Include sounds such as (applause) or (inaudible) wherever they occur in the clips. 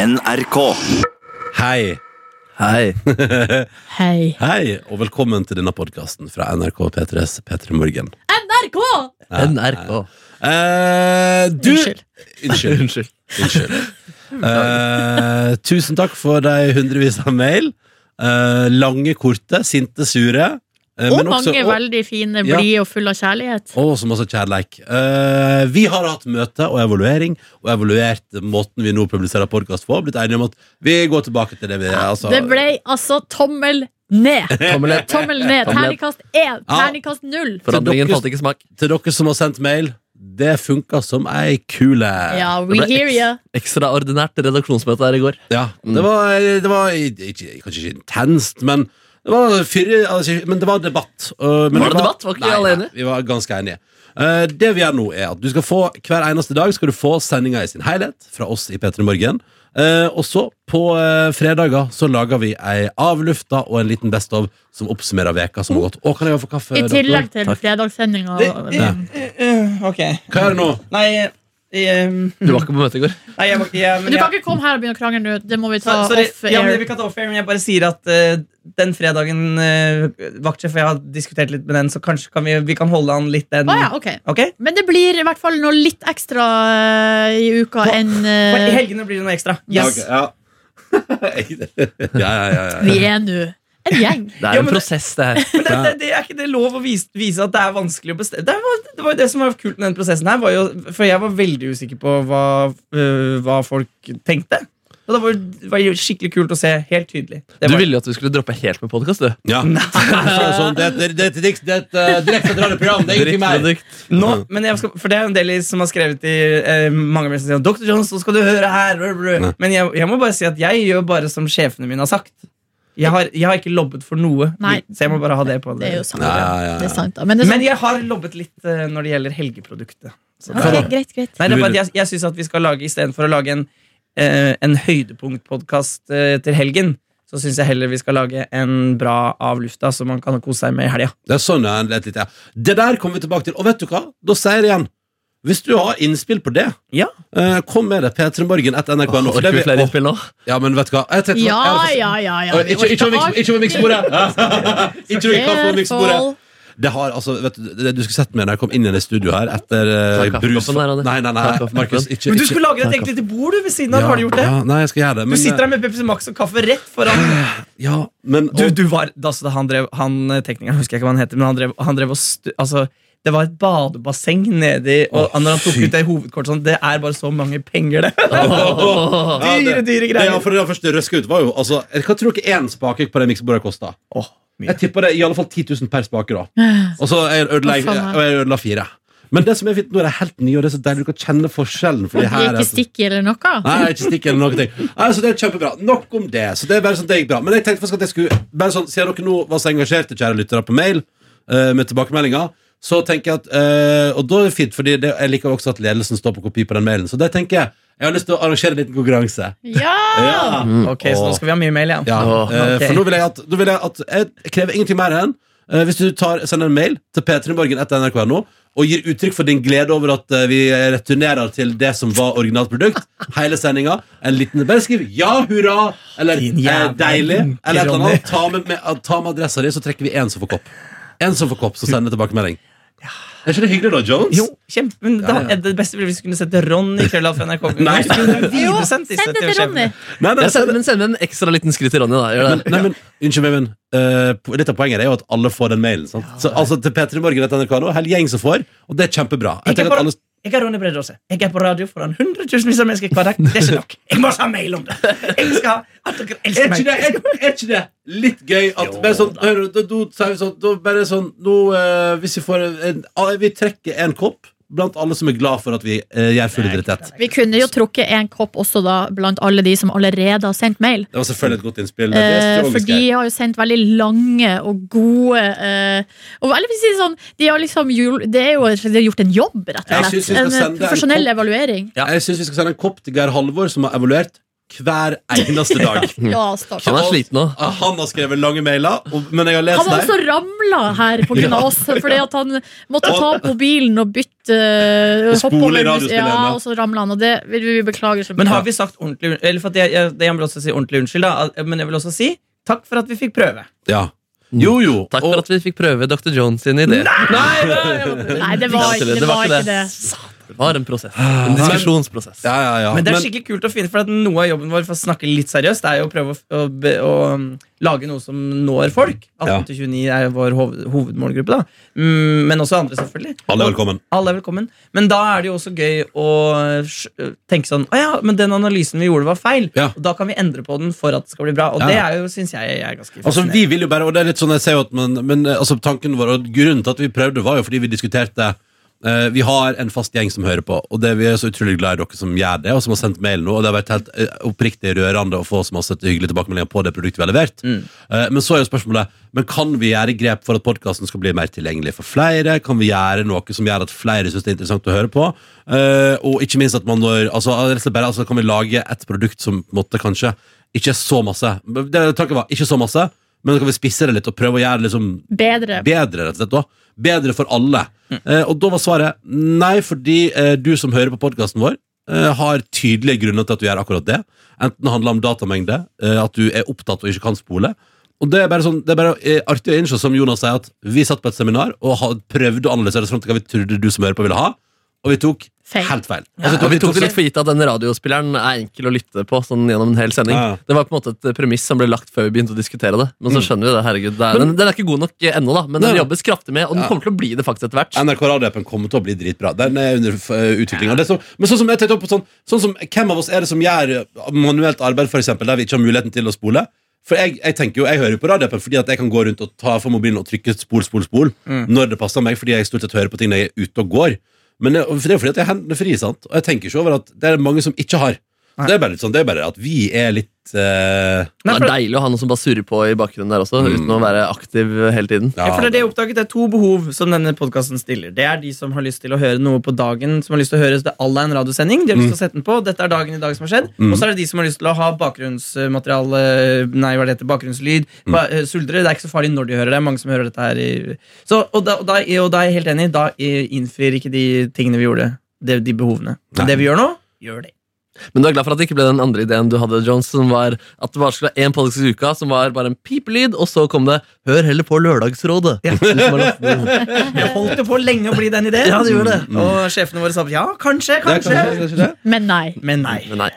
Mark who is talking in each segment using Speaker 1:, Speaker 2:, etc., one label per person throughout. Speaker 1: NRK.
Speaker 2: Hei.
Speaker 3: Hei.
Speaker 4: Hei.
Speaker 2: Hei, og velkommen til denne podkasten fra NRK P3s P3 Morgen.
Speaker 4: NRK!
Speaker 3: NRK.
Speaker 2: Eh, du
Speaker 4: Unnskyld.
Speaker 2: Unnskyld.
Speaker 3: (laughs) Unnskyld.
Speaker 2: Unnskyld.
Speaker 4: (laughs)
Speaker 2: Eh, tusen takk for de hundrevis av mail. Eh, lange, korte, sinte, sure. Eh,
Speaker 4: Og
Speaker 2: men også-
Speaker 4: mange
Speaker 2: og-
Speaker 4: veldig fine,
Speaker 2: Ja.
Speaker 4: blide og fulle av kjærlighet.
Speaker 2: og så masse kjærleik. Eh, vi har hatt møte og evaluering, og evaluert måten vi nå publiserer podkast på. Blitt enige om at vi går tilbake til det vi altså,
Speaker 4: Det ble altså tommel ned.
Speaker 3: Tommel ned.
Speaker 4: Tommel ned.
Speaker 3: Tommel ned.
Speaker 4: Terningkast én, terningkast null.
Speaker 2: Så
Speaker 3: Forandringen
Speaker 2: dere-
Speaker 3: falt ikke i smak.
Speaker 2: Til dere som har sendt mail, det funka som ei kule.
Speaker 4: Ja,
Speaker 3: Det
Speaker 4: we
Speaker 3: ble
Speaker 4: hear ya.
Speaker 3: Ekstraordinært redaksjonsmøte her i går.
Speaker 2: Ja, det var, det var ikke, kanskje ikke intenst, men det var, fyrig, altså, men det var debatt. øh, men
Speaker 3: Var det debatt? Var ikke
Speaker 2: Nei,
Speaker 3: alle
Speaker 2: nei,
Speaker 3: enige?
Speaker 2: Vi var ganske enige. Eh, det vi gjør nå, er at du skal få hver eneste dag skal du få sendinga i sin helhet fra oss i P3 Morgen. Eh, og så, på eh, fredager, så lager vi ei avlufta og en liten Best of som oppsummerer veka som har gått. Å, kan jeg få kaffe?
Speaker 4: I
Speaker 2: doktor?
Speaker 4: tillegg til fredagssendinga.
Speaker 2: Ja.
Speaker 5: Eh, Ok.
Speaker 2: Hva er det nå?
Speaker 5: Nei, jeg, um,
Speaker 3: Du var ikke på møte i går.
Speaker 5: nei, jeg var ikke jeg,
Speaker 4: Men
Speaker 5: men
Speaker 4: du
Speaker 5: jeg,
Speaker 4: kan ikke komme her og begynne å krangle nå. Det må vi ta
Speaker 5: Så- sorry,
Speaker 4: off
Speaker 5: ja, men
Speaker 4: air.
Speaker 5: vi kan ta off air, men jeg bare sier at eh, den fredagen uh, vaktsjef og jeg har diskutert litt med den, så kanskje kan vi, vi kan holde han litt den.
Speaker 4: Å ja, ok.
Speaker 5: Ok?
Speaker 4: Men det blir i hvert fall noe litt ekstra eh, i uka
Speaker 5: Hva-
Speaker 4: enn
Speaker 5: For I
Speaker 4: eh,
Speaker 5: helgene blir det noe ekstra. Yes.
Speaker 2: ja. (laughs) ja, ja, ja, ja.
Speaker 4: Vi er nå en gjeng.
Speaker 3: Det er
Speaker 5: Ja,
Speaker 3: en
Speaker 5: men-
Speaker 3: prosess, det her.
Speaker 5: Men det, det, det er ikke det lov å vise, vise at det er vanskelig å bestemme. Det var, det var jo det som var kult med den prosessen her, var jo, for jeg var veldig usikker på hva, øh, hva folk tenkte. Og det var, det var jo skikkelig kult å se helt tydelig. Det
Speaker 3: Du
Speaker 5: var,
Speaker 3: ville jo at vi skulle droppe helt med podkast, du.
Speaker 2: (laughs) ja. Sånn, sånn, det, det, det, det, det er et eh, direkteutdraget program, det er ingenting mer.
Speaker 3: Drittprodukt.
Speaker 5: nå, men jeg skal, for det er jo en del i- som har skrevet i eh, mange brev som sier Dr. Jones, nå skal du høre her. brr, brr».
Speaker 2: Nei.
Speaker 5: Men jeg, jeg må bare si at jeg gjør bare som sjefene mine har sagt. Jeg har, jeg har ikke lobbet for noe,
Speaker 4: Nei.
Speaker 5: så jeg må bare ha det på
Speaker 4: Det er jo sant.
Speaker 2: Ja, ja, ja.
Speaker 4: Det er sant da. Men det er
Speaker 5: Men
Speaker 4: sant.
Speaker 5: jeg har lobbet litt eh, når det gjelder helgeproduktet. Så det-
Speaker 4: sånn- Ok, greit, greit.
Speaker 5: Nei, det er for at jeg, jeg synes at vi skal lage Istedenfor å lage en, eh, en høydepunktpodkast eh, til helgen, så syns jeg heller vi skal lage en bra av lufta, så man kan kose seg med i helga.
Speaker 2: Det er sånn ja, en lett litt, ja. Det der kommer vi tilbake til. Og vet du hva? Da sier jeg det igjen. Hvis du har innspill på det,
Speaker 5: Ja.
Speaker 2: eh, kom med det. P3morgen etter NRK nå. for
Speaker 3: Orker
Speaker 2: det
Speaker 3: vi
Speaker 2: vil-
Speaker 3: flere
Speaker 2: Åh,
Speaker 3: innspill nå?
Speaker 2: Ja, men vet du hva? Jeg tenkte,
Speaker 4: Ja,
Speaker 2: jeg
Speaker 4: ja,
Speaker 2: hadde-
Speaker 4: ja. ja.
Speaker 2: Åh, Ikke ikke over miks- ikke over miksbordet!
Speaker 5: (laughs)
Speaker 2: Ikke liksom over kaffe- og miksbordet.
Speaker 4: Careful.
Speaker 2: Det har, altså, vet du, det, du skulle sett meg når jeg kom inn i det studio her etter eh,
Speaker 3: Ta kaffekoppen
Speaker 2: brus
Speaker 3: der, Ronny.
Speaker 2: Nei, nei,
Speaker 3: Ta
Speaker 2: nei,
Speaker 3: kaffekoppen.
Speaker 2: Markus, ikke,
Speaker 5: Men du
Speaker 2: ikke-
Speaker 5: skulle lage deg et eget lite bord du, ved siden av.
Speaker 2: Ja,
Speaker 5: Har du gjort det?
Speaker 2: Ja, nei, jeg skal gjøre det.
Speaker 5: Du
Speaker 2: Men, eh,
Speaker 5: sitter her med Pepsi Max og kaffe rett foran
Speaker 2: ja, men,
Speaker 5: (gasps) Du, du var, altså, han drev, han eh, teknikeren, husker jeg ikke hva han heter, men han drev, han drev og stu, altså, det var et badebasseng nedi, og
Speaker 2: Å,
Speaker 5: når han tok
Speaker 2: fy.
Speaker 5: ut det hovedkortet sånn, det er bare så mange penger, det. (laughs)
Speaker 3: Åh.
Speaker 2: Ja, det-
Speaker 5: Dyre, dyre
Speaker 2: det, ja,
Speaker 5: greier.
Speaker 2: for det første røske ut var jo altså, Hva tror dere én spake på det miksebordet kosta?
Speaker 5: Åh, mye.
Speaker 2: Jeg tipper det i alle fall 10 000 per spake, da. Og så jeg ødela,
Speaker 4: Å, faen, ja.
Speaker 2: og jeg ødela fire. Men det som er fint nå er det helt nye, og det er så deilig du kan kjenne forskjellen. Fordi
Speaker 4: Det
Speaker 2: her
Speaker 4: er
Speaker 2: er altså-
Speaker 4: ikke stikker eller noe?
Speaker 2: Nei, ikke stikk eller noen ting. Nei, så det er kjempebra. Nok om det. Så det er bare sånn det gikk bra. Men jeg tenkte faktisk at jeg skulle Bare sånn, Siden dere nå var så engasjerte, kjære lyttere, på mail eh, med tilbakemeldinger, så tenker jeg at eh, Og da er det fint, fordi det, jeg liker også at ledelsen står på kopi på den mailen. Så det tenker jeg Jeg har lyst til å arrangere en liten konkurranse.
Speaker 4: Ja!
Speaker 5: Ok, så nå skal vi ha mye mail, ja.
Speaker 2: Mm. Ja,
Speaker 3: Åh,
Speaker 2: eh,
Speaker 5: ok.
Speaker 2: For nå vil jeg at, nå vil jeg, at jeg krever ingenting mer enn eh, Hvis du tar, sender en mail til p3morgen.nrk.no og gir uttrykk for din glede over at eh, vi returnerer til det som var originalt produkt, (laughs) hele sendinga, en liten Bare skriv 'ja, hurra' eller
Speaker 5: Din
Speaker 2: eh,
Speaker 5: jævla
Speaker 2: 'deilig' eller et eller
Speaker 5: Ronny.
Speaker 2: annet. Ta med, med, ta med adressa di, så trekker vi én som får kopp. En som får kopp, så sender tilbakemelding. Er ikke det hyggelig, da, Jones?
Speaker 5: Jo, kjempe, men da, er Det beste ville vi skulle sette Ronny krølla fra NRK.
Speaker 2: (laughs) Nei.
Speaker 4: Jo, send det til Ronny.
Speaker 2: Nei, nei,
Speaker 3: Jeg
Speaker 2: så-
Speaker 3: sender- Men send en ekstra liten skritt til Ronny, da. Gjør det.
Speaker 2: Nei, men, unnskyld meg, men eh, po- Litt av poenget er jo at alle får den mailen. Sant? så, altså til P3 Morgen etter NRK nå, hele gjeng som får, og det er kjempebra. Jeg
Speaker 5: Ikke
Speaker 2: tenker at
Speaker 5: bare-
Speaker 2: alle,
Speaker 5: Jeg er Ronny Bredde Aase. Jeg er på radio foran hundretusenvis av mennesker hver dag. Det er ikke nok. Jeg må også ha mail om det. Jeg skal ha at dere elsker
Speaker 2: er, ikke
Speaker 5: meg.
Speaker 2: det, er, er ikke det litt gøy at bare sånn, hør, da, da, sier vi sånn, da bare sånn nå, eh, Hvis vi får en, ah, Vi trekker en kopp blant alle som er glad for at vi eh, gjør full idrettet.
Speaker 4: Vi kunne jo trukket en kopp også da blant alle de som allerede har sendt mail.
Speaker 2: Det var selvfølgelig et godt innspill. Det er
Speaker 4: Eh, for
Speaker 2: psykologisk
Speaker 4: de
Speaker 2: her.
Speaker 4: har jo sendt veldig lange og gode eh, og, Eller for å si det sånn, de har liksom jul, det er jo de har gjort en jobb, rett
Speaker 2: Jeg synes
Speaker 4: og
Speaker 2: vi
Speaker 4: slett.
Speaker 2: skal
Speaker 4: En eh,
Speaker 2: sende en
Speaker 4: profesjonell
Speaker 2: kopp.
Speaker 4: evaluering.
Speaker 2: Jeg syns vi skal sende en kopp til Geir Halvor, som har evaluert hver eneste dag.
Speaker 4: Ja, stakkars.
Speaker 3: (laughs) Han er sliten nå.
Speaker 2: Ah, Han har skrevet lange mailer, og, men jeg har
Speaker 4: Han
Speaker 2: lest
Speaker 4: har
Speaker 2: dem.
Speaker 4: også ramla her på grunn av oss, fordi at han måtte ta opp mobilen og bytte eh,
Speaker 2: Og spole
Speaker 4: hoppe over-
Speaker 2: i radiospilleren,
Speaker 4: Ja,
Speaker 2: ja.
Speaker 4: og så ramla han, og det vil vi beklage så mye.
Speaker 5: Men har vi sagt ordentlig unnskyld? Eller for at jeg, jeg, det jeg vil også si ordentlig unnskyld, da. Men jeg vil også si takk for at vi fikk prøve.
Speaker 2: Ja.
Speaker 5: Mm.
Speaker 2: Jo, jo.
Speaker 3: Takk
Speaker 2: og-
Speaker 3: for at vi fikk prøve Dr. Jones sin idé.
Speaker 5: Nei, nei, jeg må-
Speaker 4: Nei, det var ikke det. Var ikke det.
Speaker 3: Satan, det var en prosess. En diskusjonsprosess.
Speaker 2: Ja, ja, ja.
Speaker 5: (laughs) Men det er skikkelig kult å finne, for at noe av jobben vår for å snakke litt seriøst, det er jo å prøve å, å, be- å um, lage noe som når folk. 18-29 er jo vår hoved, hovedmålgruppe, da. Mm, Men også andre, selvfølgelig.
Speaker 2: Alle er
Speaker 5: Og-
Speaker 2: velkommen.
Speaker 5: Alle er velkommen. Men da er det jo også gøy å sj- tenke sånn Å ja, men den analysen vi gjorde, var feil.
Speaker 2: Ja.
Speaker 5: Og da kan vi endre på den for at det skal bli bra. Og
Speaker 2: Ja.
Speaker 5: det er jo, syns jeg, er ganske
Speaker 2: Altså,
Speaker 5: fascinerende.
Speaker 2: vi vil jo bare, og det er litt sånn jeg ser jo at men, men eh, altså, tanken vår, og grunnen til at vi prøvde var jo fordi vi diskuterte eh, vi har en fast gjeng som hører på, og det, vi er så utrolig glad i dere som gjør det, og som har sendt mail nå, og det har vært helt eh, oppriktig rørende å få så masse hyggelige tilbakemeldinger på det produktet vi har levert. Eh, men så er jo spørsmålet, men kan vi gjøre grep for at podcasten skal bli mer tilgjengelig for flere? Kan vi gjøre noe som gjør at flere synes det er interessant å høre på? Eh, og ikke minst at man når, altså, rett og slett bare, altså kan vi lage et produkt som på en måte kanskje ikke er så masse, det tanken var, ikke så masse, men så kan vi spisse det litt og prøve å gjøre det liksom
Speaker 4: Bedre.
Speaker 2: bedre, rett og slett. da. Bedre for alle. Eh, og da var svaret nei, fordi eh, du som hører på podkasten vår, eh, har tydelige grunner til at du gjør akkurat det. Enten det handler om datamengde, eh, at du er opptatt og ikke kan spole. Og det er bare, sånn, det er bare eh, artig å innse, som Jonas sier, at vi satt på et seminar og ha- prøvde å analysere oss fram til hva vi trodde du som hører på, ville ha, og vi tok
Speaker 4: Feil.
Speaker 2: helt feil.
Speaker 3: Altså,
Speaker 2: Altså,
Speaker 3: vi tok det litt for gitt at den radiospilleren er enkel å lytte på sånn gjennom en hel sending.
Speaker 2: Ja, ja.
Speaker 3: Det var på en måte et premiss som ble lagt før vi begynte å diskutere det. Men så skjønner vi det, herregud. Det er, den, den er ikke god nok ennå, da, men den
Speaker 2: Nei.
Speaker 3: jobbes kraftig med, og den
Speaker 2: Ja.
Speaker 3: kommer til å bli det faktisk etter hvert.
Speaker 2: NRK Radio-appen kommer til å bli dritbra. Den er under eh, utvikling. Og det er så, men sånn som jeg tenkte opp på sånn, sånn som, Hvem av oss er det som gjør eh, manuelt arbeid for eksempel, der vi ikke har muligheten til å spole? For jeg, jeg tenker jo, jeg hører jo på radioappen fordi at jeg kan gå rundt og ta for mobilen og trykke spol, spol, spol
Speaker 5: Mm.
Speaker 2: når det passer meg, fordi jeg stort sett hører på ting når jeg er ute og går. Men jeg, for det er jo fordi at jeg har hendene fri, sant? og jeg tenker ikke over at det er mange som ikke har. Så det er bare litt sånn, det er bare at vi er litt eh,
Speaker 5: Nei,
Speaker 3: Det
Speaker 5: for-
Speaker 3: er deilig å ha noen som bare surrer på i bakgrunnen der også, uten å være aktiv hele tiden.
Speaker 5: Ja, for det er det jeg oppdaget, det er to behov som denne podcasten stiller. Det er de som har lyst til å høre noe på dagen, som har lyst til å høre det alla en radiosending. De har lyst til å sette den på, dette er dagen i dag som har skjedd. Og så er det de som har lyst til å ha bakgrunnsmateriale, nei, hva er det heter, bakgrunnslyd, ba, eh, suldre. Det er ikke så farlig når de hører det, det er mange som hører dette her i så, og, da, og, da, og da er jeg helt enig, da eh, innfrir ikke de tingene vi gjorde, de, de behovene.
Speaker 2: Nei.
Speaker 5: Men det vi gjør nå, gjør det.
Speaker 3: Men du er glad for at det ikke ble den andre ideen du hadde, Jones, som var at det bare skulle være én podcast i uka, som var bare en pipelyd, og så kom det 'Hør heller på Lørdagsrådet'.
Speaker 5: (laughs) Ja. Jeg holdt jo på lenge å bli den ideen.
Speaker 3: Ja, det gjorde det.
Speaker 5: Og sjefene våre sa ja, kanskje,
Speaker 2: Det er
Speaker 5: kanskje.
Speaker 2: kanskje- kanskje det.
Speaker 4: Men nei.
Speaker 5: Men nei.
Speaker 3: Men nei.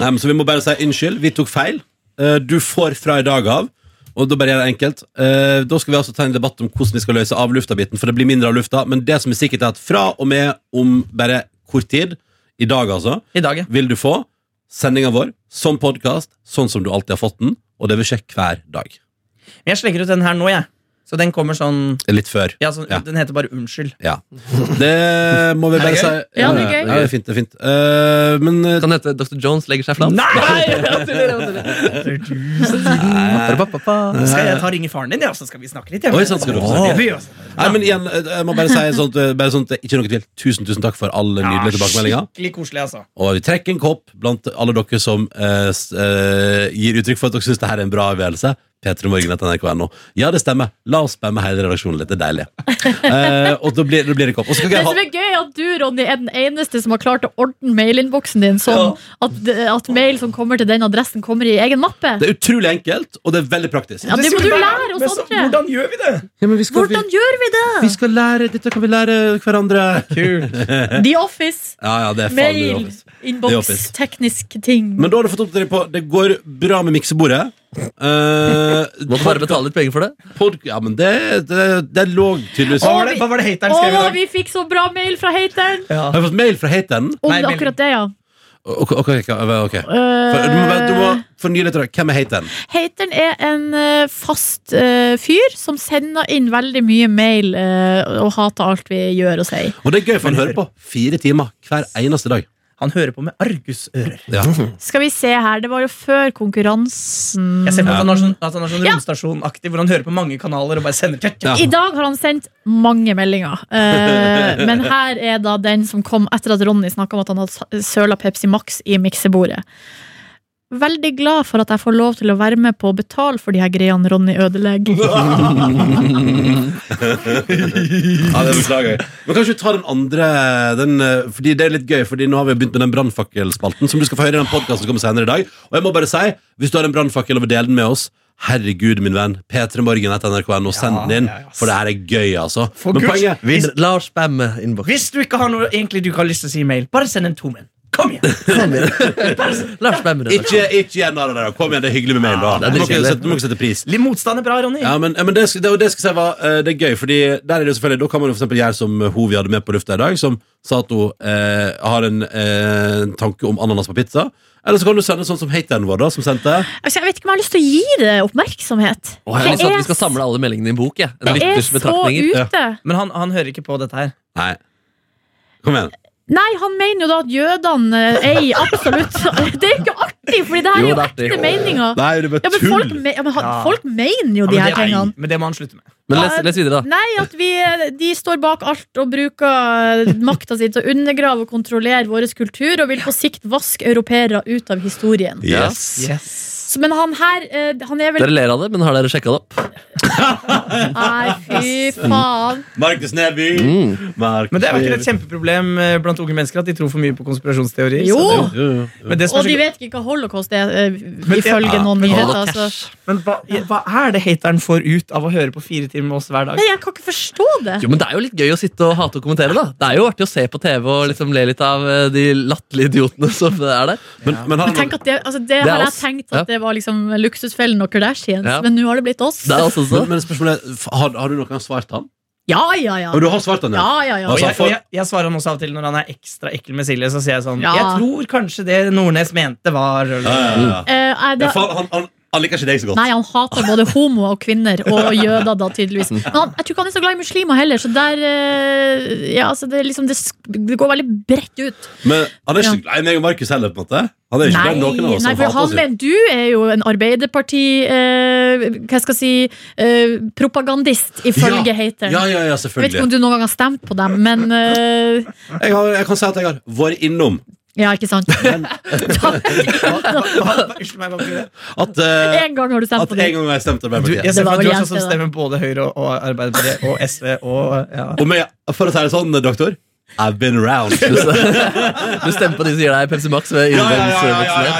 Speaker 2: Nei, men så vi må bare si unnskyld, vi tok feil. Eh, Du får fra i dag av. Og da bare gjør det enkelt. Eh, Da skal vi altså ta en debatt om hvordan vi skal løse av lufta-biten, for det blir mindre av lufta. Men det som er sikkert, er at fra og med om bare kort tid, i dag altså,
Speaker 5: I dag, ja.
Speaker 2: vil du få sendinga vår som podkast, sånn som du alltid har fått den, og det vil skje hver dag.
Speaker 5: Men jeg slenger ut den her nå, jeg. Så den kommer sånn
Speaker 2: Litt før.
Speaker 5: Ja, sånn,
Speaker 2: Ja.
Speaker 5: Den heter bare Unnskyld.
Speaker 2: Ja. Det må vi
Speaker 5: Er det
Speaker 2: bare
Speaker 5: gøy?
Speaker 2: si.
Speaker 4: Ja, det er gøy.
Speaker 2: det er fint. det er fint Eh, Men eh,
Speaker 3: Kan det hete 'Dr. Jones legger seg flat'?
Speaker 5: (laughs)
Speaker 3: Nei.
Speaker 5: Skal jeg ta og ringe faren din, ja, så skal vi snakke litt? Ja.
Speaker 2: Oi, sånn skal du også.
Speaker 5: Ja, vi også.
Speaker 2: Nei, men igjen, eh, jeg må bare si sånn at, eh, bare sånn at det ikke er noe tvil. Tusen, tusen takk for alle
Speaker 5: Ja,
Speaker 2: nydelige tilbakemeldinger.
Speaker 5: Skikkelig koselig, altså.
Speaker 2: Og vi trekker en kopp blant alle dere som eh, s- eh, gir uttrykk for at dere syns det her er en bra avgjørelse. P3morgen.nrk.no. Ja, det stemmer. La oss spamme hele redaksjonen litt. Det er deilig. Eh, og da blir, da blir det kopp. Og så skal
Speaker 4: Det
Speaker 2: jeg ha
Speaker 4: som er gøy, er at du, Ronny, er den eneste som har klart å ordne mailinnboksen din sånn at, at mail som kommer til den adressen, kommer i egen mappe.
Speaker 2: Det er utrolig enkelt, og det er veldig praktisk.
Speaker 4: Ja, det må
Speaker 5: skulle
Speaker 4: du
Speaker 5: være-
Speaker 4: lære oss
Speaker 5: Men så-
Speaker 4: andre.
Speaker 5: Hvordan gjør vi det?
Speaker 4: Hvordan gjør vi
Speaker 2: (laughs)
Speaker 4: det?
Speaker 2: Vi skal lære, Dette kan vi lære hverandre.
Speaker 5: Kult.
Speaker 4: The Office.
Speaker 2: Ja, ja, det er faen i
Speaker 4: Mail,
Speaker 2: office. The
Speaker 4: innboks,
Speaker 2: Office.
Speaker 4: teknisk ting.
Speaker 2: Men da har du fått oppdatering på det går bra med miksebordet. Eh,
Speaker 3: Måtte bare betale litt penger for det.
Speaker 2: pod, ja, men det, det, det lå tydeligvis
Speaker 5: Hva
Speaker 2: Har
Speaker 5: var det, hva var det hateren skrev i
Speaker 4: Å,
Speaker 5: dag?
Speaker 4: vi fikk så bra mail fra hateren!
Speaker 5: Ja.
Speaker 2: jeg fått mail fra hateren?
Speaker 4: Om
Speaker 5: Nei, melding.
Speaker 4: akkurat det, ja.
Speaker 2: Ok, ok, ok, ok. For, du, må, du må
Speaker 4: Uh,
Speaker 2: fornye litt. da. Hvem er hateren?
Speaker 4: Eh, hateren er en eh, fast eh, fyr som sender inn veldig mye mail eh, og hater alt vi gjør og sier.
Speaker 2: Og det er gøy, for han hører på fire timer hver eneste dag.
Speaker 5: Han hører på med argusører.
Speaker 2: Ja.
Speaker 4: Skal vi se her, det var jo før konkurransen
Speaker 5: Jeg ser for meg at han har sånn, at han har sånn romstasjonaktig hvor han hører på mange kanaler og bare sender tjert,
Speaker 2: Ja.
Speaker 5: tjert.
Speaker 4: I dag har han sendt mange meldinger.
Speaker 3: (laughs)
Speaker 4: Eh, men her er da den som kom etter at Ronny snakka om at han hadde søla Pepsi Max i miksebordet. Veldig glad for at jeg får lov til å være med på å betale for de her greiene Ronny ødelegger.
Speaker 3: (laughs)
Speaker 2: Ja, det beklager jeg. Men kanskje vi tar den andre, den, eh, fordi det er litt gøy. Fordi nå har vi begynt med den brannfakkelspalten, som du skal få høre i den podkasten som kommer senere i dag. Og jeg må bare si, hvis du har en brannfakkel og vil dele den med oss, herregud, min venn, p3morgen.nrk.no, send den inn,
Speaker 5: ja, ja, ass.
Speaker 2: for det her er gøy, altså.
Speaker 5: For
Speaker 2: Men
Speaker 5: Guds-
Speaker 2: poenget
Speaker 3: Vi lar oss spamme innboksen.
Speaker 5: Hvis du ikke har noe egentlig du ikke har lyst til å si i mail, bare send en tom en. Kom igjen!
Speaker 3: Lars Bæmmer.
Speaker 2: Ikke, ikke igjen av det der. Kom igjen, det er hyggelig med mail, da.
Speaker 3: det er
Speaker 2: Du må ikke
Speaker 3: kjedelig.
Speaker 2: sette- du må ikke sette pris.
Speaker 5: Litt motstand er bra, Ronny.
Speaker 2: Ja, men, men det, sk- det, og det skal jeg si var, eh, det er gøy, fordi der er det jo selvfølgelig, da kan man jo for eksempel gjøre som hun vi hadde med på lufta i dag, som sa at hun eh, har en eh, en tanke om ananas på pizza. Eller så kan du sende sånn som hateren vår, da, som sendte.
Speaker 4: Altså, jeg vet ikke om jeg har lyst til å gi det oppmerksomhet.
Speaker 3: Åh, jeg har lyst til at vi skal samle alle meldingene i en bok. Jeg. En
Speaker 4: det er
Speaker 3: lytters
Speaker 4: så
Speaker 3: betraktninger.
Speaker 4: ute.
Speaker 5: Men han, han hører ikke på dette her.
Speaker 2: Nei. Kom igjen.
Speaker 4: Nei, han mener jo da at jødene eh, eier absolutt (laughs) Det er jo ikke artig, for det her er
Speaker 3: Jo,
Speaker 4: jo
Speaker 3: det er artig.
Speaker 4: ekte meninger.
Speaker 2: Nei, det er
Speaker 4: Ja, men folk, me ja, men han,
Speaker 5: Ja.
Speaker 4: folk mener jo
Speaker 5: Ja,
Speaker 4: de
Speaker 5: men,
Speaker 4: her
Speaker 5: det,
Speaker 4: tingene.
Speaker 5: men det må han slutte med.
Speaker 3: Men les, les videre, da.
Speaker 4: Nei, at vi, de står bak alt og bruker makta si til å undergrave og kontrollere vår kultur, og vil på sikt vaske europeere ut av historien.
Speaker 2: Yes.
Speaker 4: Så, Men han her, eh, han er vel
Speaker 3: Dere ler av det, men har dere sjekka det opp?
Speaker 4: Nei, fy faen.
Speaker 2: Markus Neby.
Speaker 3: Mm.
Speaker 2: Markus
Speaker 5: Men det er jo ikke
Speaker 2: Neby.
Speaker 5: et kjempeproblem eh, blant unge mennesker at de tror for mye på konspirasjonsteorier.
Speaker 4: Jo!
Speaker 5: så
Speaker 2: Jo, jo, jo.
Speaker 5: det- Men, det som
Speaker 4: Og
Speaker 5: er
Speaker 4: de
Speaker 5: så,
Speaker 4: vet ikke hva holocaust er, eh,
Speaker 5: Men-
Speaker 4: ifølge
Speaker 5: ja,
Speaker 4: noen
Speaker 5: men
Speaker 4: nyheter.
Speaker 3: Hold og
Speaker 4: Altså.
Speaker 3: cash.
Speaker 5: men hva, hva er det hateren får ut av å høre på fire timer med oss hver dag?
Speaker 4: Nei, jeg kan ikke forstå det.
Speaker 3: Jo, men Det er jo litt gøy å sitte og hate og kommentere. da Det er jo artig å se på TV og liksom le litt av eh, de latterlige idiotene som er der.
Speaker 2: Men, men har
Speaker 4: Jeg
Speaker 2: han,
Speaker 4: tenker at det, altså det,
Speaker 3: er
Speaker 4: har jeg
Speaker 3: oss.
Speaker 4: tenkt
Speaker 3: Ja.
Speaker 4: at det var liksom luksusfellen og Kardashians,
Speaker 3: Ja.
Speaker 4: men nå har det blitt oss.
Speaker 3: Det er altså så
Speaker 2: men, men spørsmålet er, f- har, har du noen gang svart han?
Speaker 4: Ja, ja, ja.
Speaker 2: Og du har svart han,
Speaker 4: ja, ja, ja.
Speaker 5: Og
Speaker 2: Altså,
Speaker 5: jeg,
Speaker 2: for-
Speaker 5: og jeg, jeg svarer han også av og til når han er ekstra ekkel med Silje. Så sier jeg sånn
Speaker 4: Ja.
Speaker 5: Jeg tror kanskje det Nordnes mente var eller-
Speaker 2: Ja, ja, ja.
Speaker 4: Eh, jeg-
Speaker 2: Ja,
Speaker 4: det,
Speaker 2: faen, han, han, han liker ikke deg så godt.
Speaker 4: nei, han hater både homoer og kvinner, og jøder, da, tydeligvis.
Speaker 2: Mm.
Speaker 4: Men han, jeg tror ikke han er så glad i muslimer heller, så der eh, Ja, altså, det, er liksom, det, sk- det går veldig bredt ut.
Speaker 2: Men han er ikke glad i meg og Markus heller, på en måte. Han er ikke glad i noen av oss.
Speaker 4: nei, for
Speaker 2: hater
Speaker 4: han
Speaker 2: oss jo.
Speaker 4: mener du er jo en Arbeiderparti... Eh, hva skal jeg si eh, Propagandist, ifølge hateren.
Speaker 2: Ja, ja, ja,
Speaker 4: jeg vet ikke
Speaker 2: selvfølgelig.
Speaker 4: om du noen gang har stemt på dem, men eh,
Speaker 2: Jeg, har, jeg kan si at jeg har vært innom
Speaker 4: Ja, ikke sant? (laughs)
Speaker 5: Hva- hva- Unnskyld meg, hva betyr det?
Speaker 2: at, eh,
Speaker 4: en gang har du stemt
Speaker 2: at
Speaker 4: på
Speaker 2: en
Speaker 4: det.
Speaker 2: gang har jeg stemte
Speaker 5: Du,
Speaker 2: Arbeiderpartiet.
Speaker 5: jeg ser
Speaker 4: Det var
Speaker 5: for meg at du
Speaker 4: vel
Speaker 5: er
Speaker 4: jeg
Speaker 5: sånn som
Speaker 4: til, da.
Speaker 5: stemmer både Høyre og Arbeiderpartiet og SV og ja.
Speaker 2: Og med, for å si det sånn, doktor I've been around.
Speaker 3: Du du stemmer på de som gir deg Pepsi Max ved innvendelsesvirksomhet.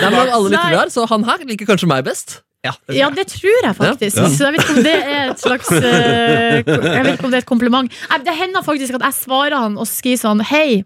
Speaker 3: Nei, men av alle lyttere vi har, så han her liker kanskje meg best.
Speaker 5: ja. det tror
Speaker 4: Ja,
Speaker 5: jeg.
Speaker 4: det tror jeg faktisk.
Speaker 2: Ja.
Speaker 4: Så jeg vet ikke om det er et slags eh, Jeg vet ikke om det er et kompliment. Nei, Det hender faktisk at jeg svarer han og skriver sånn Hei,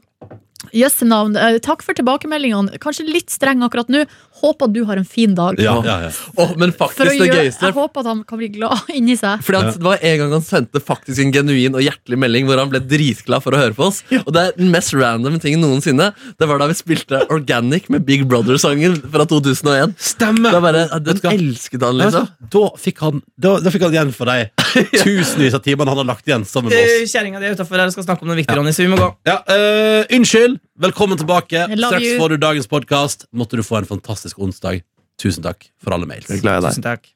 Speaker 4: jøssenavn. eh, Takk for tilbakemeldingene. Kanskje litt streng akkurat nå. Håper at du har en fin dag.
Speaker 2: Ja, ja, ja.
Speaker 3: Åh, men
Speaker 4: For å
Speaker 3: faktisk det
Speaker 4: gjøre,
Speaker 3: gøyeste
Speaker 4: jeg håper at han kan bli glad inni seg.
Speaker 3: Fordi at Det var en gang han sendte faktisk en genuin og hjertelig melding hvor han ble dritglad for å høre på oss. Og det er den mest random tingen noensinne. Det var da vi spilte Organic med Big Brother-sangen fra 2001.
Speaker 2: Stemmer!
Speaker 3: Da bare, Den
Speaker 2: Vet du hva?
Speaker 3: elsket han,
Speaker 2: Ja, vet du
Speaker 3: liksom.
Speaker 2: hva? Da fikk han Da, da fikk han igjen for (laughs) de tusenvis av timene han har lagt igjen sammen med
Speaker 5: Eh,
Speaker 2: oss.
Speaker 5: Kjerringa di er utafor her og skal snakke om noe viktig, Ronny, så vi må gå.
Speaker 2: Ja, eh, unnskyld! Velkommen tilbake.
Speaker 4: love
Speaker 2: Straks
Speaker 4: you.
Speaker 2: får du dagens podkast. Måtte du få en fantastisk onsdag. Tusen takk for alle mails.
Speaker 3: er glad i deg.
Speaker 5: Tusen takk.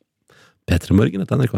Speaker 2: P3morgen.nrk.no.